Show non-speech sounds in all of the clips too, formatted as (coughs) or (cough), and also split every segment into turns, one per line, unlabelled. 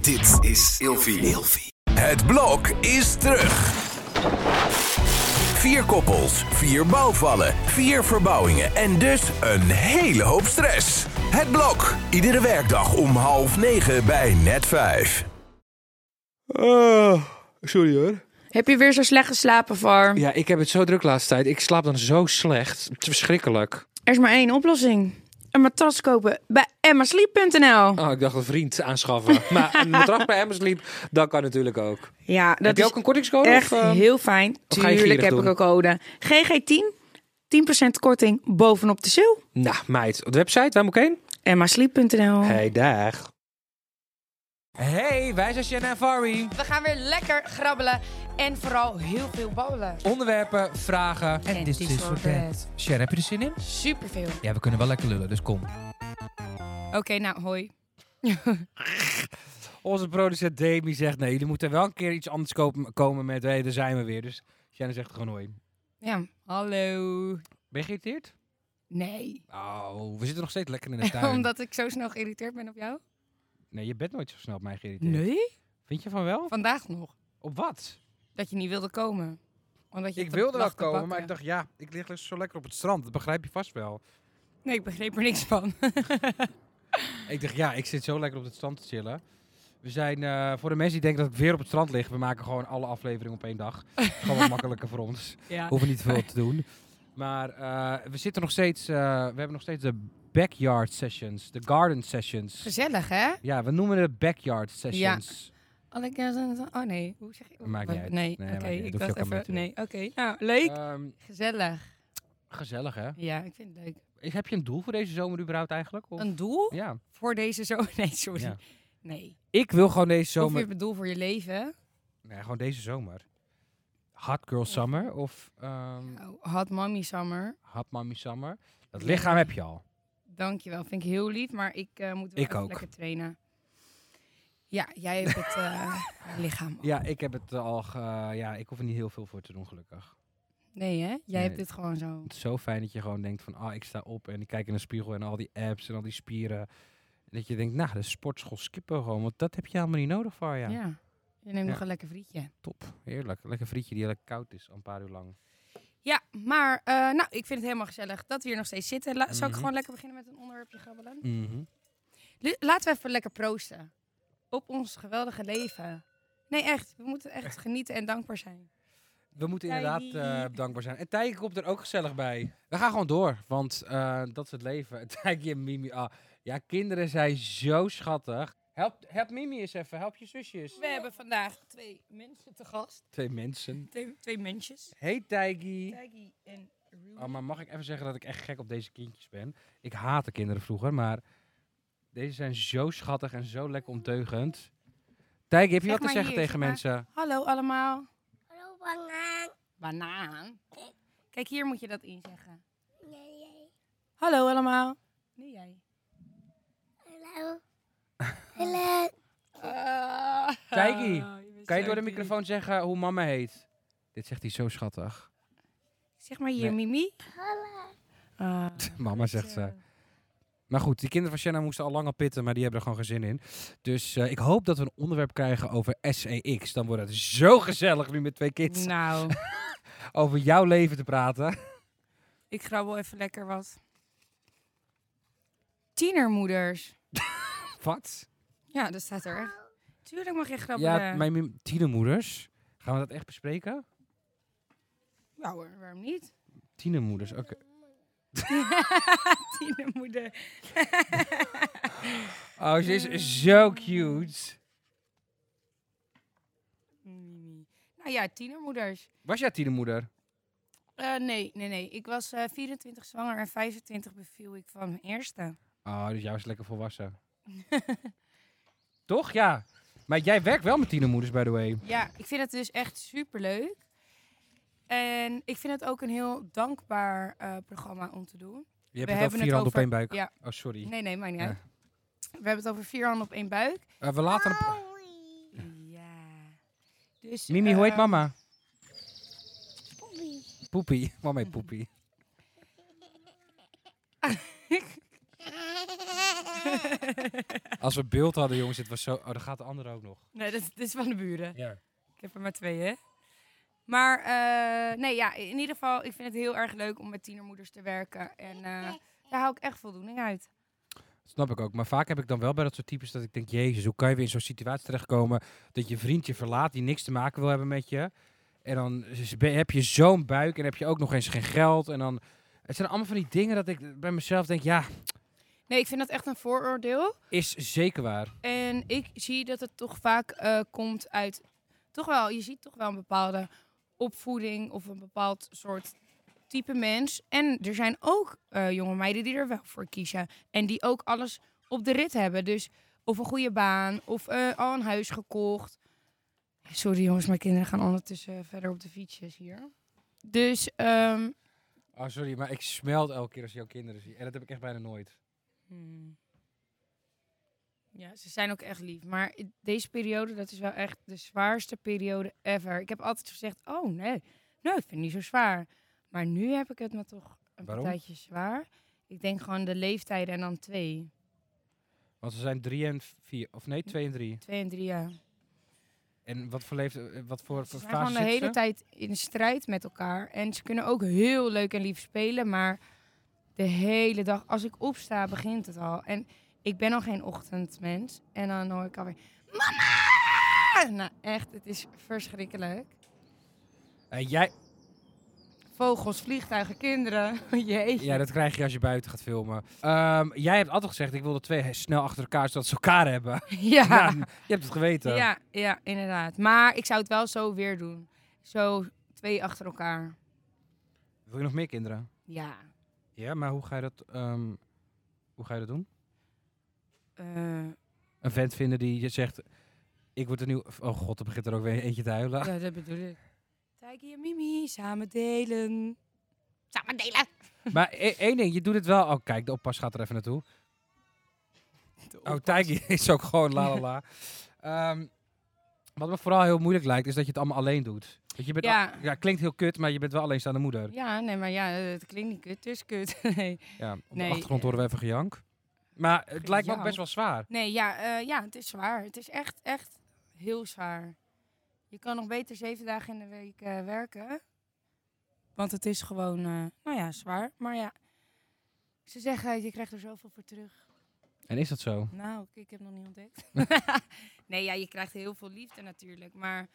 Dit is Ilfie. Het blok is terug. Vier koppels, vier bouwvallen, vier verbouwingen en dus een hele hoop stress. Het blok, iedere werkdag om half negen bij net vijf.
Ah, sorry hoor.
Heb je weer zo slecht geslapen, Var?
Ja, ik heb het zo druk de laatste tijd. Ik slaap dan zo slecht. Het is verschrikkelijk.
Er is maar één oplossing. Een matras kopen bij emmasleep.nl.
Oh, ik dacht een vriend aanschaffen. maar een matras bij Amazon Sleep, dat kan natuurlijk ook.
Ja, dat
heb je
is
ook een kortingscode?
echt
of, eh,
heel fijn.
of ga je
Tuurlijk
gierig
heb
doen?
ik een code. GG10, 10% korting bovenop de sale.
Nou, meid. Op de website, waar moet ik heen?
emmasleep.nl.
Oh.
Hey, dag. Hey, wij zijn Shanna en Fari.
We gaan weer lekker grabbelen en vooral heel veel ballen.
Onderwerpen, vragen.
En dit is voor bed.
Shanna, heb je er zin in?
Superveel.
Ja, we kunnen wel lekker lullen, dus kom.
Oké, nou hoi.
Onze producent Demi zegt, nee, jullie moeten wel een keer iets anders kopen- komen met, hé, daar zijn we weer. Dus Shanna zegt gewoon hoi.
Ja, hallo.
Ben je geïrriteerd?
Nee.
Oh, we zitten nog steeds lekker
(laughs)
in de tuin.
Omdat ik zo snel geïrriteerd ben op jou?
Nee, je bent nooit zo snel op mij geïrriteerd.
Nee.
Vind je van wel?
Vandaag nog.
Op wat?
Dat je niet wilde komen. Omdat je
Ik
te-
wilde wel
lag te
komen,
bakken.
maar ik dacht, ja, ik lig dus zo lekker op het strand. Dat begrijp je vast wel.
Nee, ik begreep er niks van. (laughs)
Ik dacht, ja, ik zit zo lekker op het strand te chillen. We zijn, eh, voor de mensen die denken dat ik weer op het strand lig, we maken gewoon alle afleveringen op één
(laughs)
dag. gewoon wat makkelijker voor ons.
ja.
Hoeven niet veel te doen. Maar eh, we zitten nog steeds, eh, we hebben nog steeds de backyard sessions, de garden sessions.
Gezellig, hè?
Ja, we noemen het backyard sessions.
Alle keer- Oh nee, hoe zeg je? Oh,
Maakt niet uit.
Nee,
Nee,
oké.
maakt niet uit.
Ik
Hoef je
dacht
ook aan mee
even,
te doen.
nee, oké. Nou, leuk.
Ehm,
Gezellig.
gezellig, hè?
Ja, ik vind het leuk.
Heb je een doel voor deze zomer überhaupt eigenlijk? Of?
Een doel
Ja.
voor deze zomer? (laughs) Nee, sorry.
Ja.
Nee.
Ik wil gewoon deze
Of je
zomer...
bedoel voor je leven.
Nee, gewoon deze zomer. Hot Girl Summer of ehm
Oh, had mommy summer.
Hot Mommy Summer. Dat lichaam heb je al.
Dankjewel, vind ik heel lief, maar ik eh, moet wel
Ik
even
ook.
lekker trainen. Ja, jij hebt het eh,
(laughs)
lichaam.
Ja, ik heb het al... ge- ja, ik hoef er niet heel veel voor te doen, gelukkig.
Nee hè? Jij
Nee.
hebt dit gewoon zo.
Het is zo fijn dat je gewoon denkt van... Ah, ik sta op en ik kijk in de spiegel en al die apps en al die spieren. En dat je denkt, nou, de sportschool skippen we gewoon. Want dat heb je helemaal niet nodig voor
Ja.
je.
Je neemt
Ja.
nog een lekker frietje.
Top, heerlijk. Lekker frietje die lekker koud is, al een paar uur lang.
Ja, maar eh, nou, ik vind het helemaal gezellig dat we hier nog steeds zitten. La- Zal ik
Mhm.
gewoon lekker beginnen met een onderwerpje grabbelen? Lu- Laten we even lekker proosten. Op ons geweldige leven. Nee, echt. We moeten
(laughs)
echt genieten en dankbaar zijn.
We moeten
Tijdi.
inderdaad eh, dankbaar zijn. En Tijke komt er ook gezellig bij. We gaan gewoon door, want eh, dat is het leven. (laughs) Tijke en Mimi. Ah, ja, kinderen zijn zo schattig. Help, help Mimi eens even, help je zusjes.
We hebben vandaag twee mensen te gast.
Twee mensen.
Twee, twee mensjes.
Hey Tijke.
Taggy en Rudy.
Oh, maar mag ik even zeggen dat ik echt gek op deze kindjes ben? Ik haatte kinderen vroeger, maar deze zijn zo schattig en zo lekker ondeugend. Tijke, heb je
Zeg
wat te
maar
zeggen
hier,
tegen
zeg maar.
mensen?
Hallo allemaal. Hallo banaan. Banaan. Kijk, hier moet je dat inzeggen. Nee, jij. Hallo allemaal. Nee, jij.
Hallo. Hallo.
Tijkie,
Ah, bent
Kan je
zo
door de
lief.
microfoon zeggen hoe mama heet? Dit zegt hij zo schattig.
Zeg maar hier, Mimi. Hallo.
(laughs) Mama zegt ze. Maar goed, die kinderen van Shanna moesten al lang al pitten, maar die hebben er gewoon geen zin in. Dus eh, ik hoop dat we een onderwerp krijgen over SEX. Dan wordt het zo gezellig nu met twee kids (laughs)
nou,
over jouw leven te praten. (laughs)
ik grabbel even lekker wat. Tienermoeders.
Wat?
Ja, dat staat er. echt. Ah, Tuurlijk mag je grabbelen.
Ja, mijn mim- tienermoeders. Gaan we dat echt bespreken?
Ja hoor, waarom niet? (laughs)
Tienermoeders, oké.
Mm. Tienermoeder.
Oh, ze
Mm.
is zo cute.
Mimi. Nou ja, tienermoeders.
Was jij tienermoeder?
Eh, nee, nee, nee. Ik was eh, 24 zwanger en 25 beviel ik van mijn eerste.
Oh, dus jij was lekker
(laughs)
volwassen. Toch? Ja. Maar jij werkt wel met tienermoeders, by the way.
Ja, ik vind het dus echt superleuk. En ik vind het ook een heel dankbaar eh, programma om te doen.
Je hebt
We
het
hebben
over
het
vier handen op
over-
één buik.
ja.
Oh, sorry.
Nee, nee, maakt niet
Ja.
uit. We hebben het over vier handen op één buik.
Eh, we laten... een-
Ja. Dus,
Mimi, hoe heet
eh,
mama? Poepie. (laughs) Mama heet Poepie. Als we beeld hadden, jongens, het was zo... Oh, dan gaat de andere ook nog.
(laughs) Nee, dit, dit is van de buren.
Ja.
Ik heb er maar twee, hè? Maar eh, nee, ja, in ieder geval, ik vind het heel erg leuk om met tienermoeders te werken. En eh, daar haal ik echt voldoening uit.
Snap ik ook. Maar vaak heb ik dan wel bij dat soort types dat ik denk... Jezus, hoe kan je weer in zo'n situatie terechtkomen... dat je vriendje verlaat die niks te maken wil hebben met je. En dan is- ben- heb je zo'n buik en heb je ook nog eens geen geld. En dan... Het zijn allemaal van die dingen dat ik bij mezelf denk... Ja,
Nee, ik vind dat echt een vooroordeel.
is zeker waar.
En ik zie dat het toch vaak eh, komt uit. Toch wel, je ziet toch wel een bepaalde opvoeding of een bepaald soort type mens. En er zijn ook eh, jonge meiden die er wel voor kiezen. En die ook alles op de rit hebben. Dus of een goede baan of eh, al een huis gekocht. Sorry jongens, mijn kinderen gaan ondertussen verder op de fietsjes hier. Dus ehm,
Oh, sorry, maar ik smelt elke keer als ik jouw kinderen zie. En dat heb ik echt bijna nooit.
Hmm. Ja, ze zijn ook echt lief. Maar i- deze periode, dat is wel echt de zwaarste periode ever. Ik heb altijd gezegd, oh nee, nee, ik vind het niet zo zwaar. Maar nu heb ik het me toch een
Waarom?
partijtje zwaar. Ik denk gewoon de leeftijden en dan twee.
Want ze zijn drie en vier. Of nee, twee en drie.
Twee en drie jaar.
En wat voor, leeft, eh, wat voor,
Ze
voor
zijn gewoon
fase
de
zitten
hele
ze?
tijd in strijd met elkaar. En ze kunnen ook heel leuk en lief spelen. Maar de hele dag, als ik opsta, begint het al. En ik ben al geen ochtendmens. En dan hoor ik alweer... Mama! Nou, echt, het is verschrikkelijk.
Eh, jij,
Vogels, vliegtuigen, kinderen. (laughs) oh Jeetje.
ja, dat krijg je als je buiten gaat filmen. Ehm, jij hebt altijd gezegd, ik wil de twee he- snel achter elkaar, zodat ze elkaar
(laughs)
hebben.
ja.
Nou, je hebt het geweten.
ja, ja, inderdaad. Maar ik zou het wel zo weer doen. Zo twee achter elkaar.
Wil je nog meer kinderen?
Ja.
Ja, maar hoe ga je dat, ehm, hoe ga je dat doen?
Eh,
Een vent vinden die je zegt, ik word er nu... Oh god, er begint er ook weer eentje te huilen.
Ja, dat bedoel ik. Tijkie en Mimi, samen delen. Samen delen.
Maar e- één ding, je doet het wel... Oh, kijk, de oppas gaat er even naartoe. Oh, Tijgi (laughs) is ook gewoon la la la. Ehm, wat me vooral heel moeilijk lijkt, is dat je het allemaal alleen doet. Want je bent al- ja.
Ja.
klinkt heel kut, maar je bent wel alleenstaande moeder.
Ja, nee, maar ja, eh, het klinkt niet kut, het is kut. (laughs) nee.
Ja, op
Nee,
de achtergrond
eh,
horen we even gejank. Maar het lijkt me ook
gejank.
best wel zwaar.
nee, ja, eh, ja, het is zwaar. Het is echt, echt heel zwaar. Je kan nog beter zeven dagen in de week eh, werken. Want het is gewoon, eh, nou ja, zwaar. Maar ja, ze zeggen, je krijgt er zoveel voor terug.
En is dat zo?
Nou, oké, ik heb nog niet ontdekt. (laughs) nee, ja, je krijgt heel veel liefde natuurlijk. Maar,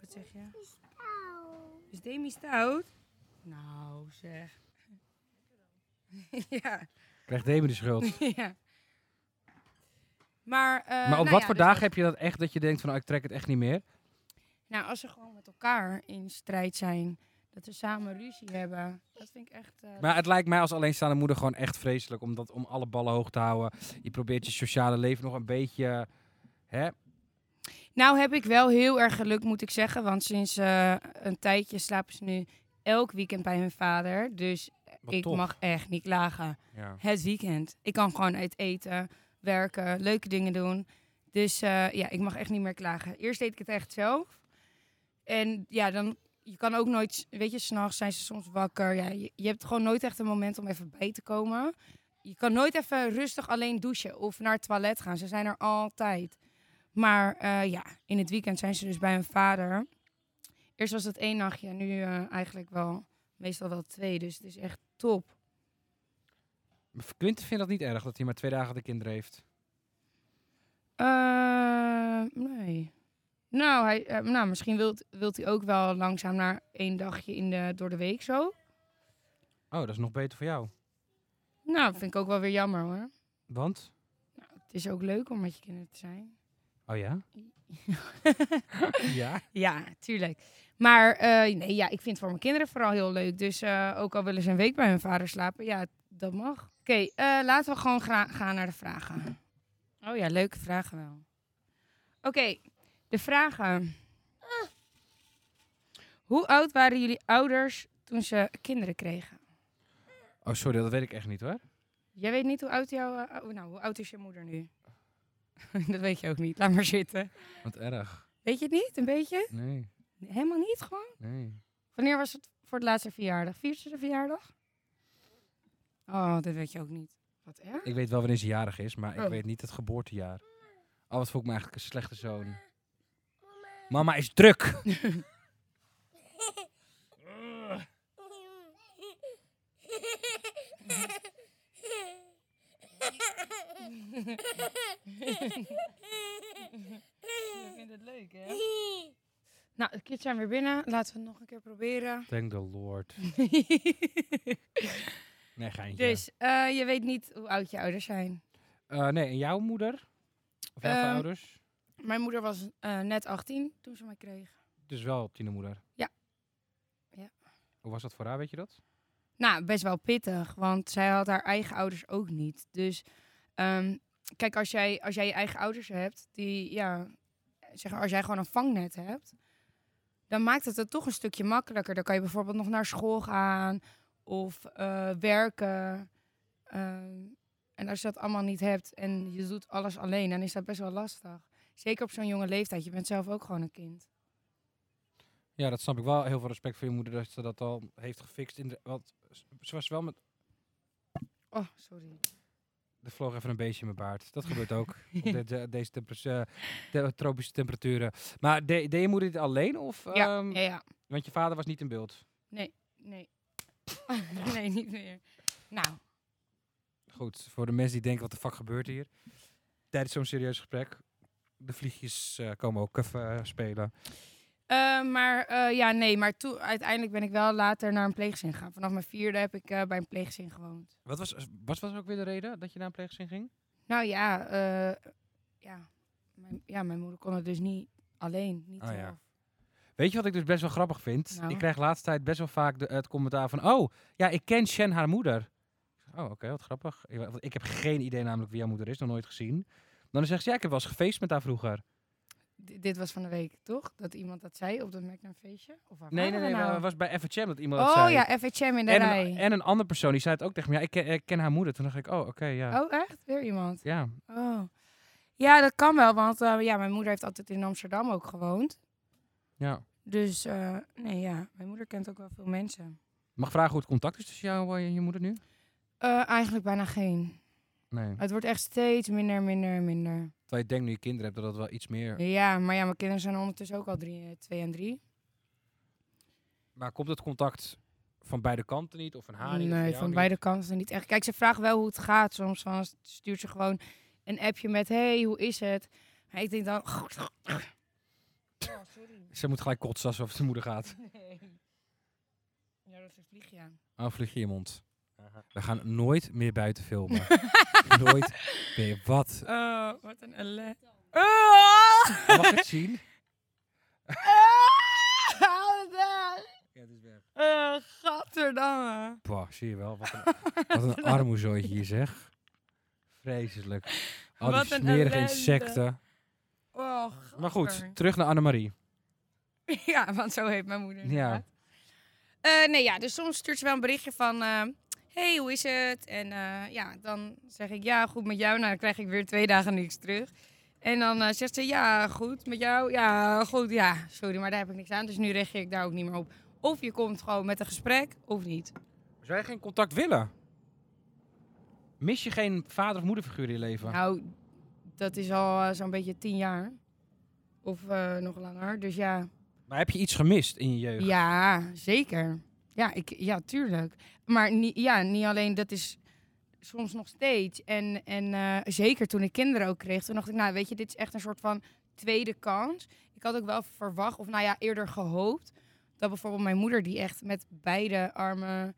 wat zeg je? Is Demi stout? Nou, zeg. (laughs) ja,
Krijgt Demi de schuld.
(laughs) ja. Maar, eh,
maar op
nou
wat
ja,
voor
dus
dagen
dat-
heb je dat echt dat je denkt van, oh, ik trek het echt niet meer?
Nou, als ze gewoon met elkaar in strijd zijn, dat ze samen ruzie hebben, dat vind ik echt. eh,
Maar het lijkt mij als alleenstaande moeder gewoon echt vreselijk om, dat, om alle ballen hoog te houden. Je probeert je sociale leven nog een beetje... Hè?
Nou heb ik wel heel erg geluk, moet ik zeggen. Want sinds eh, een tijdje slapen ze nu elk weekend bij hun vader. Dus
Wat
ik
top.
mag echt niet klagen.
Ja.
Het weekend. Ik kan gewoon uit eten, werken, leuke dingen doen. Dus eh, ja, ik mag echt niet meer klagen. Eerst deed ik het echt zelf. En ja, dan... Je kan ook nooit... Weet je, s'nachts zijn ze soms wakker. Ja, je, je hebt gewoon nooit echt een moment om even bij te komen. Je kan nooit even rustig alleen douchen of naar het toilet gaan. Ze zijn er altijd. Maar eh, ja, in het weekend zijn ze dus bij hun vader. Eerst was dat één nachtje. Nu eh, eigenlijk wel meestal wel twee. Dus het is echt top.
Quinten vindt dat niet erg, dat hij maar twee dagen de kinderen heeft.
Eh, nee. Nou, hij, eh, nou misschien wilt, wilt hij ook wel langzaam naar één dagje in de, door de week zo.
Oh, dat is nog beter voor jou.
Nou, vind ik ook wel weer jammer hoor.
Want?
Het is ook leuk om met je kinderen te zijn.
Oh ja?
(laughs)
ja?
Ja, tuurlijk. Maar eh, nee, ja, ik vind het voor mijn kinderen vooral heel leuk. Dus eh, ook al willen ze een week bij hun vader slapen, ja, dat mag. Oké, eh, laten we gewoon gra- gaan naar de vragen. Oh ja, leuke vragen wel. Oké, de vragen. Hoe oud waren jullie ouders toen ze kinderen kregen?
Oh, sorry, dat weet ik echt niet hoor.
Jij weet niet hoe oud jouw... eh, ou- nou, hoe oud is je moeder nu? (laughs) dat weet je ook niet. Laat maar zitten.
Wat erg.
Weet je het niet? Een beetje?
Nee,
Helemaal niet gewoon?
nee.
Wanneer was het voor het laatste verjaardag? Vierde verjaardag? Oh, dat weet je ook niet. Wat erg.
Ik weet wel wanneer ze jarig is, maar ik
Oh.
weet niet het geboortejaar. Oh, wat voel ik me eigenlijk een slechte zoon. Mama is druk.
vind het leuk, hè? Nou, de kids zijn weer binnen. Laten we het nog een keer (laughs) proberen.
Thank the lord. Nee, geintje.
dus, eh, je weet niet hoe oud je ouders zijn.
Eh, nee, en jouw moeder? Of jouw
Ehm,
ouders?
Mijn moeder was eh, net 18 toen ze mij kreeg.
Dus wel tienermoeder.
Ja. Ja.
Hoe was dat voor haar, weet je dat?
Nou, best wel pittig, want zij had haar eigen ouders ook niet. Dus ehm, kijk, als jij, als jij je eigen ouders hebt, die, ja, zeg maar, als jij gewoon een vangnet hebt, dan maakt het het toch een stukje makkelijker. Dan kan je bijvoorbeeld nog naar school gaan of eh, werken. Ehm, en als je dat allemaal niet hebt en je doet alles alleen, dan is dat best wel lastig. Zeker op zo'n jonge leeftijd. Je bent zelf ook gewoon een kind.
Ja, dat snap ik wel. Heel veel respect voor je moeder dat ze dat al heeft gefixt. In de, want s- ze was wel met...
Oh, sorry.
Er vloog even een beestje in mijn baard. Dat gebeurt
(laughs)
ook. op de- de- deze tempers- eh, de- tropische temperaturen. Maar de- deed je moeder dit alleen? Of,
Ja,
ehm,
ja, ja.
Want je vader was niet in beeld.
Nee. (laughs) nee, niet meer. Nou,
Goed, voor de mensen die denken, wat de fuck gebeurt hier? Tijdens zo'n serieus gesprek. De vliegjes eh, komen ook even eh, spelen.
eh, maar eh, ja, nee. Maar toen, uiteindelijk ben ik wel later naar een pleegzin gegaan. Vanaf mijn vierde heb ik eh, bij een pleegzin gewoond.
Wat was, was, was ook weer de reden dat je naar een pleegzin ging?
Nou ja, eh, ja. Mijn, ja, mijn moeder kon het dus niet alleen. Niet
Ah, ja.
zelf.
Weet je wat ik dus best wel grappig vind?
Nou.
Ik krijg de laatste tijd best wel vaak de, het commentaar van... Oh, ja, ik ken Shen haar moeder. Oh, oké, wat grappig. Ik, want ik heb geen idee namelijk wie jouw moeder is, nog nooit gezien. Dan zegt ze, ja, ik heb wel eens gefeest met haar vroeger.
D- dit was van de week, toch? Dat iemand dat zei op dat McNair feestje? Of waar
Nee,
waren
nee,
we
nee,
nou?
maar was bij FHM dat iemand dat
Oh
zei.
ja, FHM in de
en,
rij.
een, en een andere persoon, die zei het ook tegen me. Ja, ik ken, ik ken haar moeder. Toen dacht ik, oh, oké, ja.
Oh, echt? Weer iemand?
Ja,
Oh. Ja, dat kan wel, want eh, ja, mijn moeder heeft altijd in Amsterdam ook gewoond.
ja.
Dus eh, nee, ja, mijn moeder kent ook wel veel mensen.
Mag ik vragen hoe het contact is tussen jou en je moeder nu?
Eh, eigenlijk bijna geen.
Nee.
Het wordt echt steeds minder, minder, minder.
Terwijl je denkt nu je kinderen hebt, dat dat wel iets meer...
Ja, maar ja, mijn kinderen zijn ondertussen ook al drie, eh, twee en drie.
Maar komt het contact van beide kanten niet? Of van haar niet? of
nee,
Ah, jou
van
niet?
eh, beide kanten niet echt. Kijk, ze vragen wel hoe het gaat soms. Van, stuurt ze gewoon een appje met, hey, hoe is het? Maar ik denk dan... (laughs) Oh,
Ze moet gelijk kotsen als ze over zijn moeder gaat.
Ja, dat is een vliegje aan.
Oh, vlieg je in je mond. We gaan nooit meer buiten
(laughs)
filmen. nooit meer. Wat?
Oh, wat een ellende.
Mag (laughs)
(laughs)
ik het zien?
Hou het weg.
Ja, het is weg.
Eh, Gadverdamme.
Bah, zie je wel. Wat een, wat
(laughs)
een armoezooitje hier zeg. Vreselijk. Al die
Wat een
smerige
ellende.
insecten.
Oh,
Maar goed,
gadver.
terug naar Annemarie.
(laughs) Ja, want zo heet mijn moeder.
Ja.
Ja. nee, ja, dus soms stuurt ze wel een berichtje van... eh, hey, hoe is het? En eh, ja, dan zeg ik ja, goed met jou. Nou, dan krijg ik weer twee dagen niks terug. En dan eh, zegt ze ja, goed met jou. Ja, goed, ja, sorry, maar daar heb ik niks aan. Dus nu reageer ik daar ook niet meer op. Of je komt gewoon met een gesprek, of niet.
Zou jij geen contact willen? Mis je geen vader- of moederfiguur in je leven?
Nou, dat is al eh, zo'n beetje tien jaar. Of eh, nog langer, dus ja...
Maar heb je iets gemist in je jeugd?
Ja, zeker. Ja, ik, ja tuurlijk. Maar niet, ja, niet alleen, dat is soms nog steeds. En, en eh, zeker toen ik kinderen ook kreeg, toen dacht ik, nou weet je, dit is echt een soort van tweede kans. Ik had ook wel verwacht, of nou ja, eerder gehoopt, dat bijvoorbeeld mijn moeder die echt met beide armen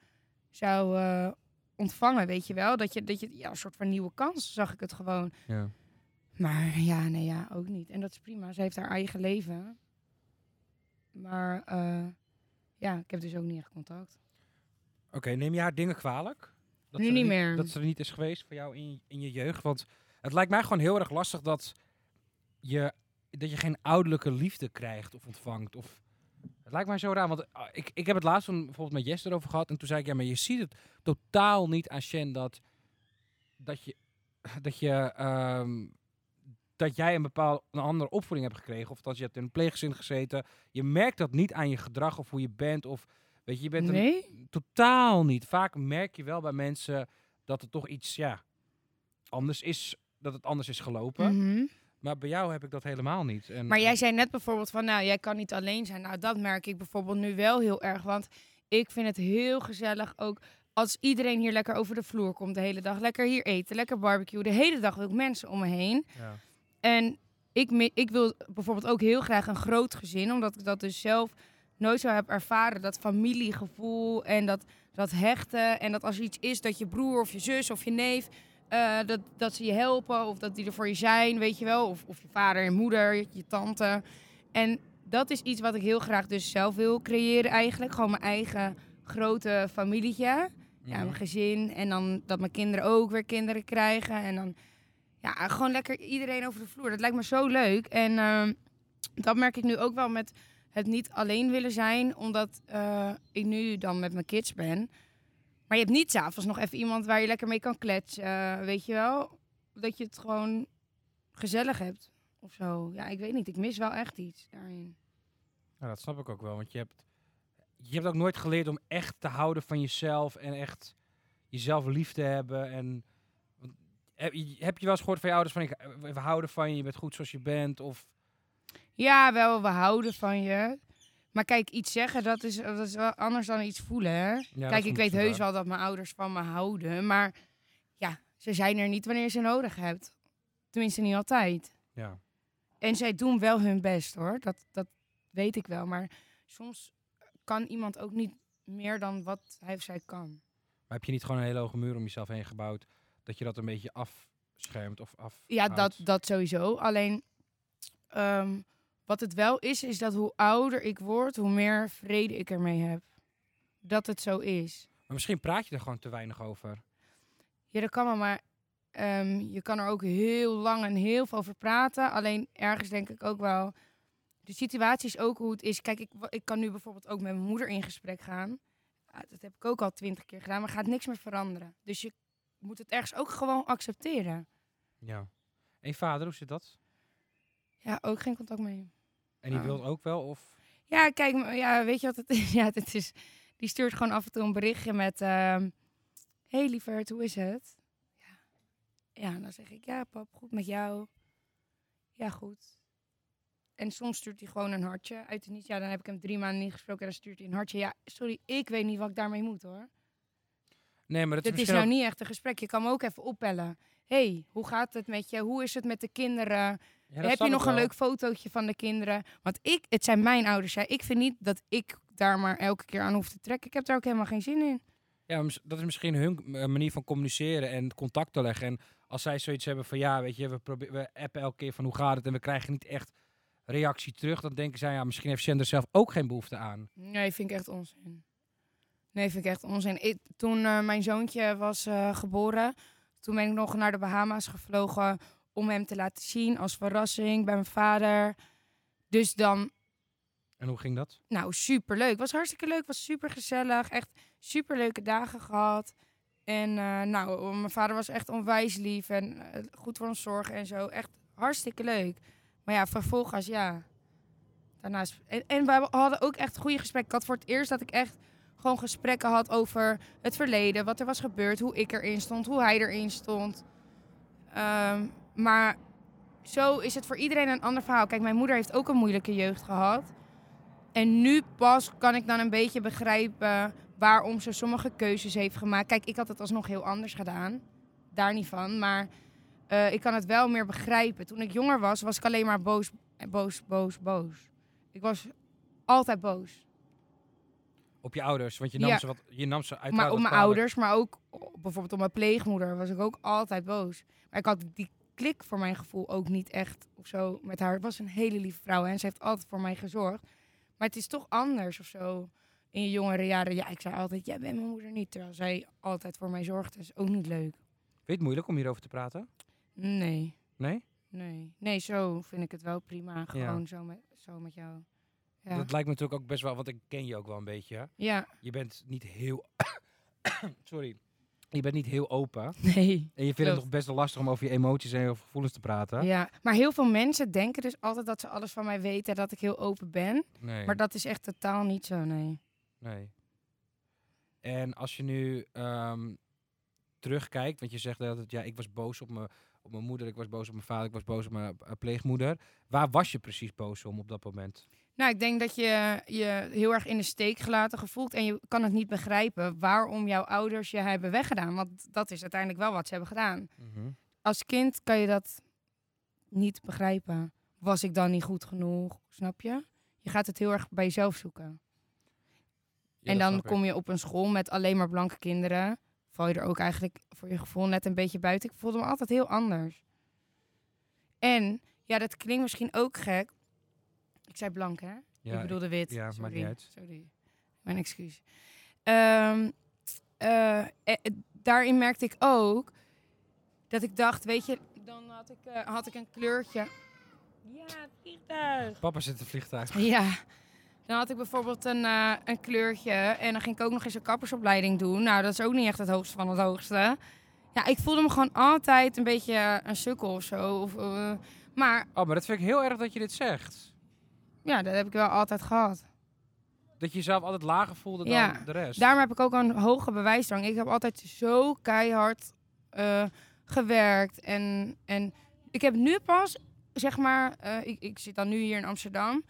zou eh, ontvangen, weet je wel. Dat je, dat je, ja, een soort van nieuwe kans zag ik het gewoon.
Ja.
Maar ja, nee, ja, ook niet. En dat is prima. Ze heeft haar eigen leven. Maar eh, ja, ik heb dus ook niet echt contact.
Oké, neem je haar dingen kwalijk? Dat
Nu
ze er
niet meer.
Dat ze er niet is geweest voor jou in, in je jeugd. Want het lijkt mij gewoon heel erg lastig dat je, dat je geen ouderlijke liefde krijgt of ontvangt. Of, het lijkt mij zo raar, want ah, ik, ik heb het laatst toen bijvoorbeeld met Jess erover gehad. En toen zei ik, ja, maar je ziet het totaal niet aan Shen dat, dat je... Dat je ehm, dat jij een bepaalde een andere opvoeding hebt gekregen. Of dat je hebt in een pleegzin gezeten. Je merkt dat niet aan je gedrag of hoe je bent. Of weet je, je bent een,
nee?
Totaal niet. Vaak merk je wel bij mensen dat er toch iets ja, anders is. Dat het anders is gelopen.
Mhm.
Maar bij jou heb ik dat helemaal niet. En,
Maar jij zei net bijvoorbeeld van, nou, jij kan niet alleen zijn. Nou, dat merk ik bijvoorbeeld nu wel heel erg. Want ik vind het heel gezellig ook als iedereen hier lekker over de vloer komt de hele dag. Lekker hier eten, lekker barbecue. De hele dag wil ik mensen om me heen.
Ja.
En ik, mi- ik wil bijvoorbeeld ook heel graag een groot gezin. Omdat ik dat dus zelf nooit zo heb ervaren. Dat familiegevoel en dat, dat hechten. En dat als er iets is, dat je broer of je zus of je neef... eh, dat, dat ze je helpen of dat die er voor je zijn, weet je wel. Of, of je vader en moeder, je, je tante. En dat is iets wat ik heel graag dus zelf wil creëren eigenlijk. Gewoon mijn eigen grote familietje. Ja,
Mhm.
mijn gezin. En dan dat mijn kinderen ook weer kinderen krijgen. En dan ja, gewoon lekker iedereen over de vloer. Dat lijkt me zo leuk. En ehm, dat merk ik nu ook wel met het niet alleen willen zijn. Omdat eh, ik nu dan met mijn kids ben. Maar je hebt niet s'avonds nog even iemand waar je lekker mee kan kletsen. eh, weet je wel? Dat je het gewoon gezellig hebt. Of zo. Ja, ik weet niet. Ik mis wel echt iets daarin.
Nou, dat snap ik ook wel, want je hebt, je hebt ook nooit geleerd om echt te houden van jezelf en echt jezelf lief te hebben. En, want heb, je- heb je wel eens gehoord van je ouders van ik, eh, we houden van je, je bent goed zoals je bent? Of
Ja, wel. We houden van je. Maar kijk, iets zeggen, dat is, dat is wel anders dan iets voelen, hè?
Ja, dat dus
Kijk,
is
ik weet
100%
heus
waar.
wel dat mijn ouders van me houden, maar ja, ze zijn er niet wanneer je ze nodig hebt. Tenminste, niet altijd.
Ja.
En zij doen wel hun best hoor, dat, dat weet ik wel. Maar soms kan iemand ook niet meer dan wat hij of zij kan.
Maar heb je niet gewoon een hele hoge muur om jezelf heen gebouwd, dat je dat een beetje afschermt of af?
Ja, dat, dat sowieso. Alleen ehm, wat het wel is, is dat hoe ouder ik word, hoe meer vrede ik ermee heb. Dat het zo is.
Maar misschien praat je er gewoon te weinig over.
Ja, dat kan wel, maar ehm, je kan er ook heel lang en heel veel over praten. Alleen ergens denk ik ook wel. De situatie is ook hoe het is. Kijk, ik, wa- ik kan nu bijvoorbeeld ook met mijn moeder in gesprek gaan. Ah, dat heb ik ook al twintig keer gedaan, maar gaat niks meer veranderen. Dus je moet het ergens ook gewoon accepteren.
Ja. En je vader, hoe zit dat?
Ja, ook geen contact mee.
En die
Ah.
wil ook wel? Of
Ja, kijk, m- ja, weet je wat het is? (laughs) Ja, het is die stuurt gewoon af en toe een berichtje met... ehm hey lieverd, hoe is het? Ja. ja, dan zeg ik, ja pap, goed met jou. Ja, goed. En soms stuurt hij gewoon een hartje uit het niets. Ja, dan heb ik hem drie maanden niet gesproken en dan stuurt hij een hartje. Ja, sorry, ik weet niet wat ik daarmee moet hoor.
nee, maar dat is
Dit is
misschien
nou
ook-
niet echt een gesprek. Je kan me ook even opbellen. hey, hoe gaat het met je? Hoe is het met de kinderen?
Ja, dat
heb
snap
je
ik
nog een
wel.
leuk fotootje van de kinderen? Want ik, het zijn mijn ouders. Ja. Ik vind niet dat ik daar maar elke keer aan hoef te trekken. Ik heb daar ook helemaal geen zin in.
Ja, maar mis- dat is misschien hun eh, manier van communiceren en contact te leggen. En als zij zoiets hebben van ja, weet je, we, probe- we appen elke keer van hoe gaat het en we krijgen niet echt reactie terug, dan denken zij ja, misschien heeft Sander zelf ook geen behoefte aan.
Nee, vind ik echt onzin. Nee, vind ik echt onzin. Ik- toen eh, mijn zoontje was eh, geboren, toen ben ik nog naar de Bahama's gevlogen om hem te laten zien als verrassing bij mijn vader. Dus dan
En hoe ging dat?
Nou, superleuk. Was hartstikke leuk. Was super gezellig. Echt superleuke dagen gehad. En eh, nou, mijn vader was echt onwijs lief en eh, goed voor ons zorgen en zo. Echt hartstikke leuk. Maar ja, vervolgens ja. Daarnaast. En, en we hadden ook echt goede gesprekken. Ik had voor het eerst dat ik echt gewoon gesprekken had over het verleden, wat er was gebeurd, hoe ik erin stond, hoe hij erin stond. Ehm, maar zo is het voor iedereen een ander verhaal. Kijk, mijn moeder heeft ook een moeilijke jeugd gehad. En nu pas kan ik dan een beetje begrijpen waarom ze sommige keuzes heeft gemaakt. Kijk, ik had het alsnog heel anders gedaan. Daar niet van. Maar eh, ik kan het wel meer begrijpen. Toen ik jonger was, was ik alleen maar boos, eh, boos, boos, boos. Ik was altijd boos.
Op je ouders, want je nam
Ja.
ze wat, je nam ze uiteraard
Maar op
wat
mijn
kwalijk.
ouders, maar ook op- bijvoorbeeld op mijn pleegmoeder was ik ook altijd boos. Maar ik had die klik voor mijn gevoel ook niet echt of zo met haar. Het was een hele lieve vrouw hè, en ze heeft altijd voor mij gezorgd. Maar het is toch anders of zo in je jongere jaren. Ja, ik zei altijd, jij bent mijn moeder niet. Terwijl zij altijd voor mij zorgde. is ook niet leuk.
Vind je het moeilijk om hierover te praten?
Nee,
Nee?
nee. Nee, zo vind ik het wel prima. Gewoon zo, met, zo met jou. Ja.
Dat lijkt me natuurlijk ook best wel, want ik ken je ook wel een beetje. hè.
ja, (laughs)
Je bent niet heel, (coughs) sorry, je bent niet heel open.
nee.
En je vindt het
Klopt.
nog best wel lastig om over je emoties en over gevoelens te praten.
Ja, maar heel veel mensen denken dus altijd dat ze alles van mij weten en dat ik heel open ben.
Nee.
Maar dat is echt totaal niet zo, nee.
Nee. En als je nu ehm, terugkijkt, want je zegt dat ja, ik was boos op mijn, op mijn moeder, ik was boos op mijn vader, ik was boos op mijn eh, pleegmoeder. Waar was je precies boos om op dat moment?
Nou, ik denk dat je je heel erg in de steek gelaten gevoeld. En je kan het niet begrijpen waarom jouw ouders je hebben weggedaan. Want dat is uiteindelijk wel wat ze hebben gedaan.
Mhm.
Als kind kan je dat niet begrijpen. Was ik dan niet goed genoeg? Snap je? Je gaat het heel erg bij jezelf zoeken.
Ja, dat
en dan
snap ik.
kom je op een school met alleen maar blanke kinderen. Val je er ook eigenlijk voor je gevoel net een beetje buiten. Ik voelde me altijd heel anders. En, ja, dat klinkt misschien ook gek. Ik zei blank, hè?
Ja,
ik bedoelde wit.
ja, maakt
Sorry.
niet uit.
Sorry. Mijn excuus. Ehm, eh, eh, daarin merkte ik ook dat ik dacht, weet je, dan had ik, eh, had ik een kleurtje. Ja, vliegtuig.
Papa zit in het vliegtuig.
Ja. Dan had ik bijvoorbeeld een, eh, een kleurtje en dan ging ik ook nog eens een kappersopleiding doen. Nou, dat is ook niet echt het hoogste van het hoogste. Ja, ik voelde me gewoon altijd een beetje eh, een sukkel of zo. Of, eh, maar
Oh, maar dat vind ik heel erg dat je dit zegt.
ja, dat heb ik wel altijd gehad.
Dat je jezelf altijd lager voelde
Ja,
dan de rest.
Daarom heb ik ook een hoge bewijsdrang. Ik heb altijd zo keihard eh, gewerkt. En, en ik heb nu pas, zeg maar, eh, ik, ik zit dan nu hier in Amsterdam.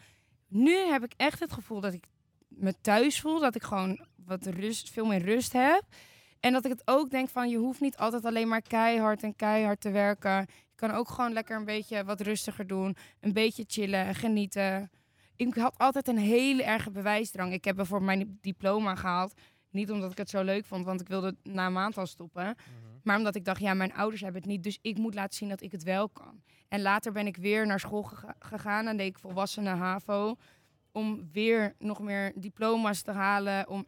Nu heb ik echt het gevoel dat ik me thuis voel. Dat ik gewoon wat rust, veel meer rust heb. En dat ik het ook denk van, je hoeft niet altijd alleen maar keihard en keihard te werken. Je kan ook gewoon lekker een beetje wat rustiger doen. Een beetje chillen en genieten. Ik had altijd een hele erge bewijsdrang. Ik heb bijvoorbeeld mijn diploma gehaald. Niet omdat ik het zo leuk vond, want ik wilde het na een maand al stoppen.
Mhm.
Maar omdat ik dacht, ja, mijn ouders hebben het niet. Dus ik moet laten zien dat ik het wel kan. En later ben ik weer naar school gega- gegaan. En deed ik volwassenen HAVO. Om weer nog meer diploma's te halen. Om...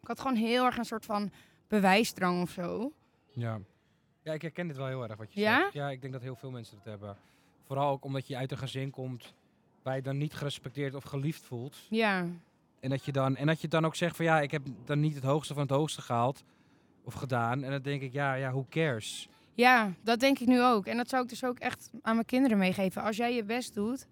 Ik had gewoon heel erg een soort van bewijsdrang of zo.
Ja. ja, ik herken dit wel heel erg wat je
Ja?
zegt. Ja, ik denk dat heel veel mensen het hebben. Vooral ook omdat je uit een gezin komt waar je dan niet gerespecteerd of geliefd voelt.
Ja,
En dat je dan, en dat je dan ook zegt van ja, ik heb dan niet het hoogste van het hoogste gehaald of gedaan. En dan denk ik, ja, ja, who cares?
ja dat denk ik nu ook. En dat zou ik dus ook echt aan mijn kinderen meegeven. Als jij je best doet,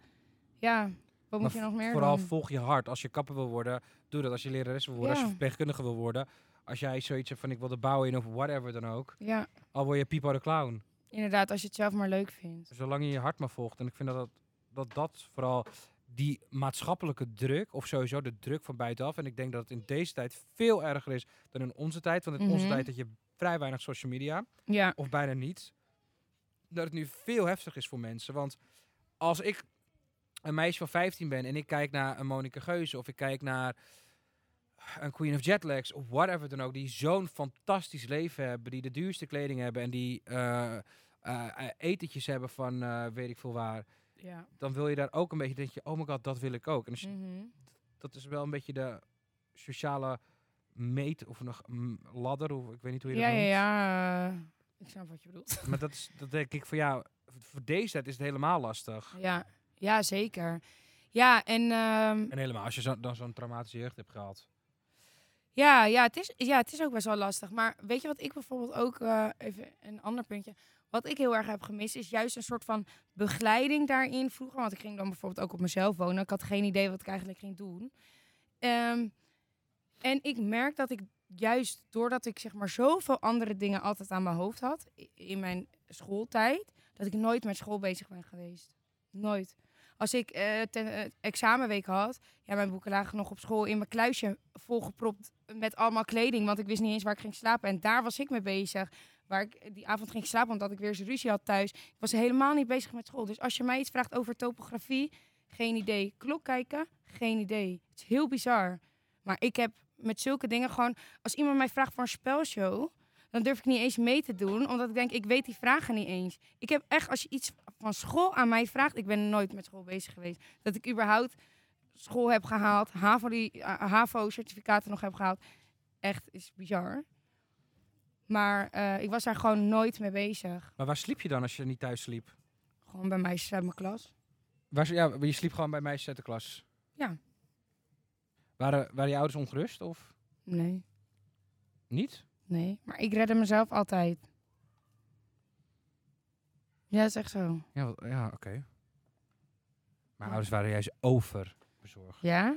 ja, wat moet
Maar
je nog meer
Vooral
doen?
volg je hart. Als je kapper wil worden, doe dat. Als je lerares wil worden, als
Ja.
je verpleegkundige wil worden. Als jij zoiets hebt van ik wil de bouw in of whatever dan ook.
Ja.
Al word je Pipo de clown.
Inderdaad, als je het zelf maar leuk vindt.
Zolang je je hart maar volgt. En ik vind dat dat, dat, dat vooral die maatschappelijke druk, of sowieso de druk van buitenaf. En ik denk dat het in deze tijd veel erger is dan in onze tijd. Want in onze
Mhm.
tijd had je vrij weinig social media.
Ja,
of bijna niet, dat het nu veel heftig is voor mensen. Want als ik een meisje van 15 ben en ik kijk naar een Monica Geuze of ik kijk naar een Queen of Jetlags of whatever dan ook, die zo'n fantastisch leven hebben, die de duurste kleding hebben en die eh, eh, eh, etentjes hebben van eh, weet ik veel waar,
ja.
dan wil je daar ook een beetje denk je, oh my god, dat wil ik ook. En als
Mm.
je-
Mhm.
dat is wel een beetje de sociale meet of nog mm, ladder, of ik weet niet hoe je dat
Ja, ja,
noemt.
ja. eh, ik snap wat je bedoelt. (laughs)
Maar dat, is, dat denk ik voor jou, voor deze tijd is het helemaal lastig.
Ja, ja zeker. Ja, en ehm,
En helemaal, als je zo, dan zo'n traumatische jeugd hebt gehad.
ja, ja, het is, ja, het is ook best wel lastig. Maar weet je wat ik bijvoorbeeld ook, eh, even een ander puntje, wat ik heel erg heb gemist, is juist een soort van begeleiding daarin vroeger. Want ik ging dan bijvoorbeeld ook op mezelf wonen. Ik had geen idee wat ik eigenlijk ging doen. Ehm, en ik merk dat ik juist doordat ik zeg maar zoveel andere dingen altijd aan mijn hoofd had i- in mijn schooltijd, dat ik nooit met school bezig ben geweest. Nooit. Als ik eh, ten, eh, examenweek had, ja, mijn boeken lagen nog op school in mijn kluisje volgepropt met allemaal kleding, want ik wist niet eens waar ik ging slapen. En daar was ik mee bezig. Waar ik die avond ging slapen, omdat ik weer eens ruzie had thuis. Ik was helemaal niet bezig met school. Dus als je mij iets vraagt over topografie, geen idee. Klok kijken, geen idee. Het is heel bizar. Maar ik heb met zulke dingen gewoon... Als iemand mij vraagt voor een spelshow, dan durf ik niet eens mee te doen. Omdat ik denk, ik weet die vragen niet eens. Ik heb echt, als je iets van school aan mij vraagt... Ik ben nooit met school bezig geweest. Dat ik überhaupt school heb gehaald, HAVO die- eh, HAVO-certificaten nog heb gehaald. Echt, is bizar. Maar eh, ik was daar gewoon nooit mee bezig.
Maar waar sliep je dan als je niet thuis sliep?
Gewoon bij meisjes uit mijn klas.
Waar, s- ja, je sliep gewoon bij meisjes uit de klas?
Ja.
Waren, waren je ouders ongerust of
Nee.
niet?
Nee, maar ik redde mezelf altijd. Ja, dat is echt zo.
Ja, wel- ja oké. Mijn
Ja.
ouders waren juist overbezorgd.
Ja?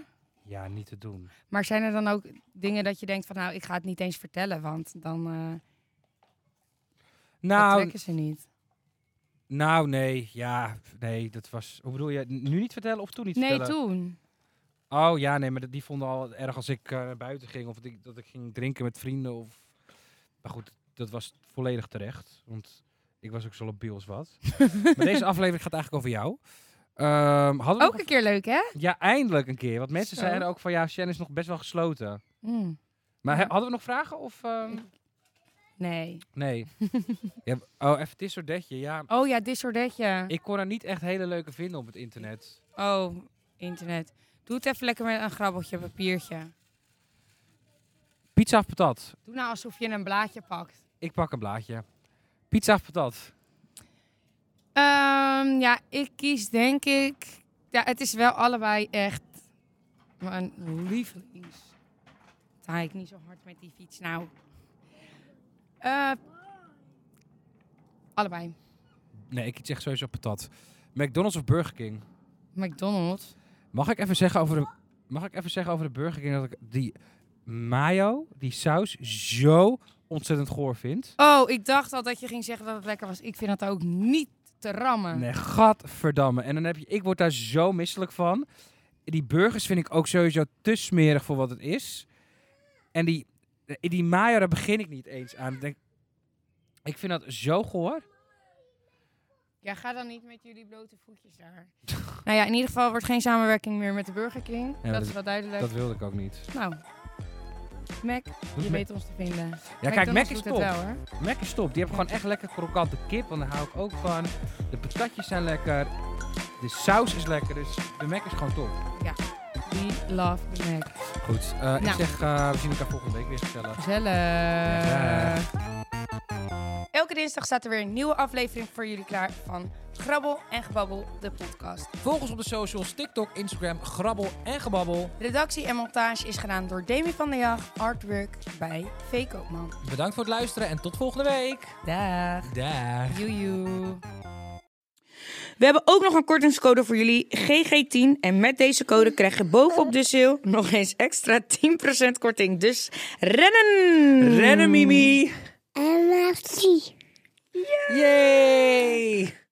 Ja, niet te doen.
Maar zijn er dan ook dingen dat je denkt van, nou, ik ga het niet eens vertellen, want dan eh, dat
Nou,
trekken ze niet.
nou, nee. Ja, nee, dat was... Hoe bedoel je? Nu niet vertellen of toen niet
Nee,
vertellen?
toen.
Oh ja, nee, maar dat- die vonden al erg als ik eh, naar buiten ging of dat ik, dat ik ging drinken met vrienden. Of... Maar goed, dat was volledig terecht, want ik was ook zo labiel als
(laughs)
wat. maar deze aflevering gaat eigenlijk over jou. Ehm, hadden we nog
Ook een keer leuk, hè?
een- Ja, eindelijk een keer. Want mensen
Oh, Zo.
zeiden ook van ja, Shen is nog best wel gesloten.
Mm,
Maar he-
Ja.
hadden we nog vragen of... ehm,
Nee. (laughs)
Nee. ja, oh, even dit soort detje. Ja,
Oh ja, disordetje.
ik kon er niet echt hele leuke vinden op het internet.
Oh, internet. Doe het even lekker met een grabbeltje, papiertje.
Pizza of patat?
Doe nou alsof je een blaadje pakt.
Ik pak een blaadje. Pizza of patat?
Ehm, ja, ik kies denk ik... Ja, het is wel allebei echt mijn lievelings. Taai ik niet zo hard met die fiets nou. Eh, allebei.
Nee, ik zeg sowieso patat. McDonald's of Burger King?
McDonald's.
Mag ik even zeggen over de, mag ik even zeggen over de Burger King dat ik die mayo, die saus, zo ontzettend goor vind?
Oh, ik dacht al dat je ging zeggen dat het lekker was. Ik vind dat ook niet te rammen.
Nee, gadverdamme. En dan heb je, ik word daar zo misselijk van. Die burgers vind ik ook sowieso te smerig voor wat het is. En die, die mayo, daar begin ik niet eens aan. Ik, denk, ik vind dat zo goor.
Ja, ga dan niet met jullie blote voetjes daar. (laughs) nou ja, in ieder geval wordt geen samenwerking meer met de Burger King.
maar
dat
dat-
is wel duidelijk.
Dat wilde ik ook niet.
Nou, Mac, je
Mac-
weet ons te vinden.
Ja, kijk, Mac
McDonald's
is
doet
top.
het wel, hoor.
Mac is top. Die hebben gewoon echt lekker krokante kip. Want daar hou ik ook van. De patatjes zijn lekker. De saus is lekker. Dus de Mac is gewoon top.
We love the Mac.
Goed. eh, Ik
Nou.
zeg, eh, we zien elkaar volgende week weer vertellen.
Gezellig. Elke dinsdag staat er weer een nieuwe aflevering voor jullie klaar van Grabbel en Gebabbel, de podcast.
Volg ons op de socials. TikTok, Instagram, Grabbel en Gebabbel.
Redactie en montage is gedaan door Demi van der Jag, artwork bij V. Koopman.
Bedankt voor het luisteren en tot volgende week.
Dag.
Daag.
Joejoe.
We hebben ook nog een kortingscode voor jullie, GG10. En met deze code krijg je bovenop de sale nog eens extra 10% korting. Dus rennen!
Rennen, Mimi.
En Mafie.
Yay.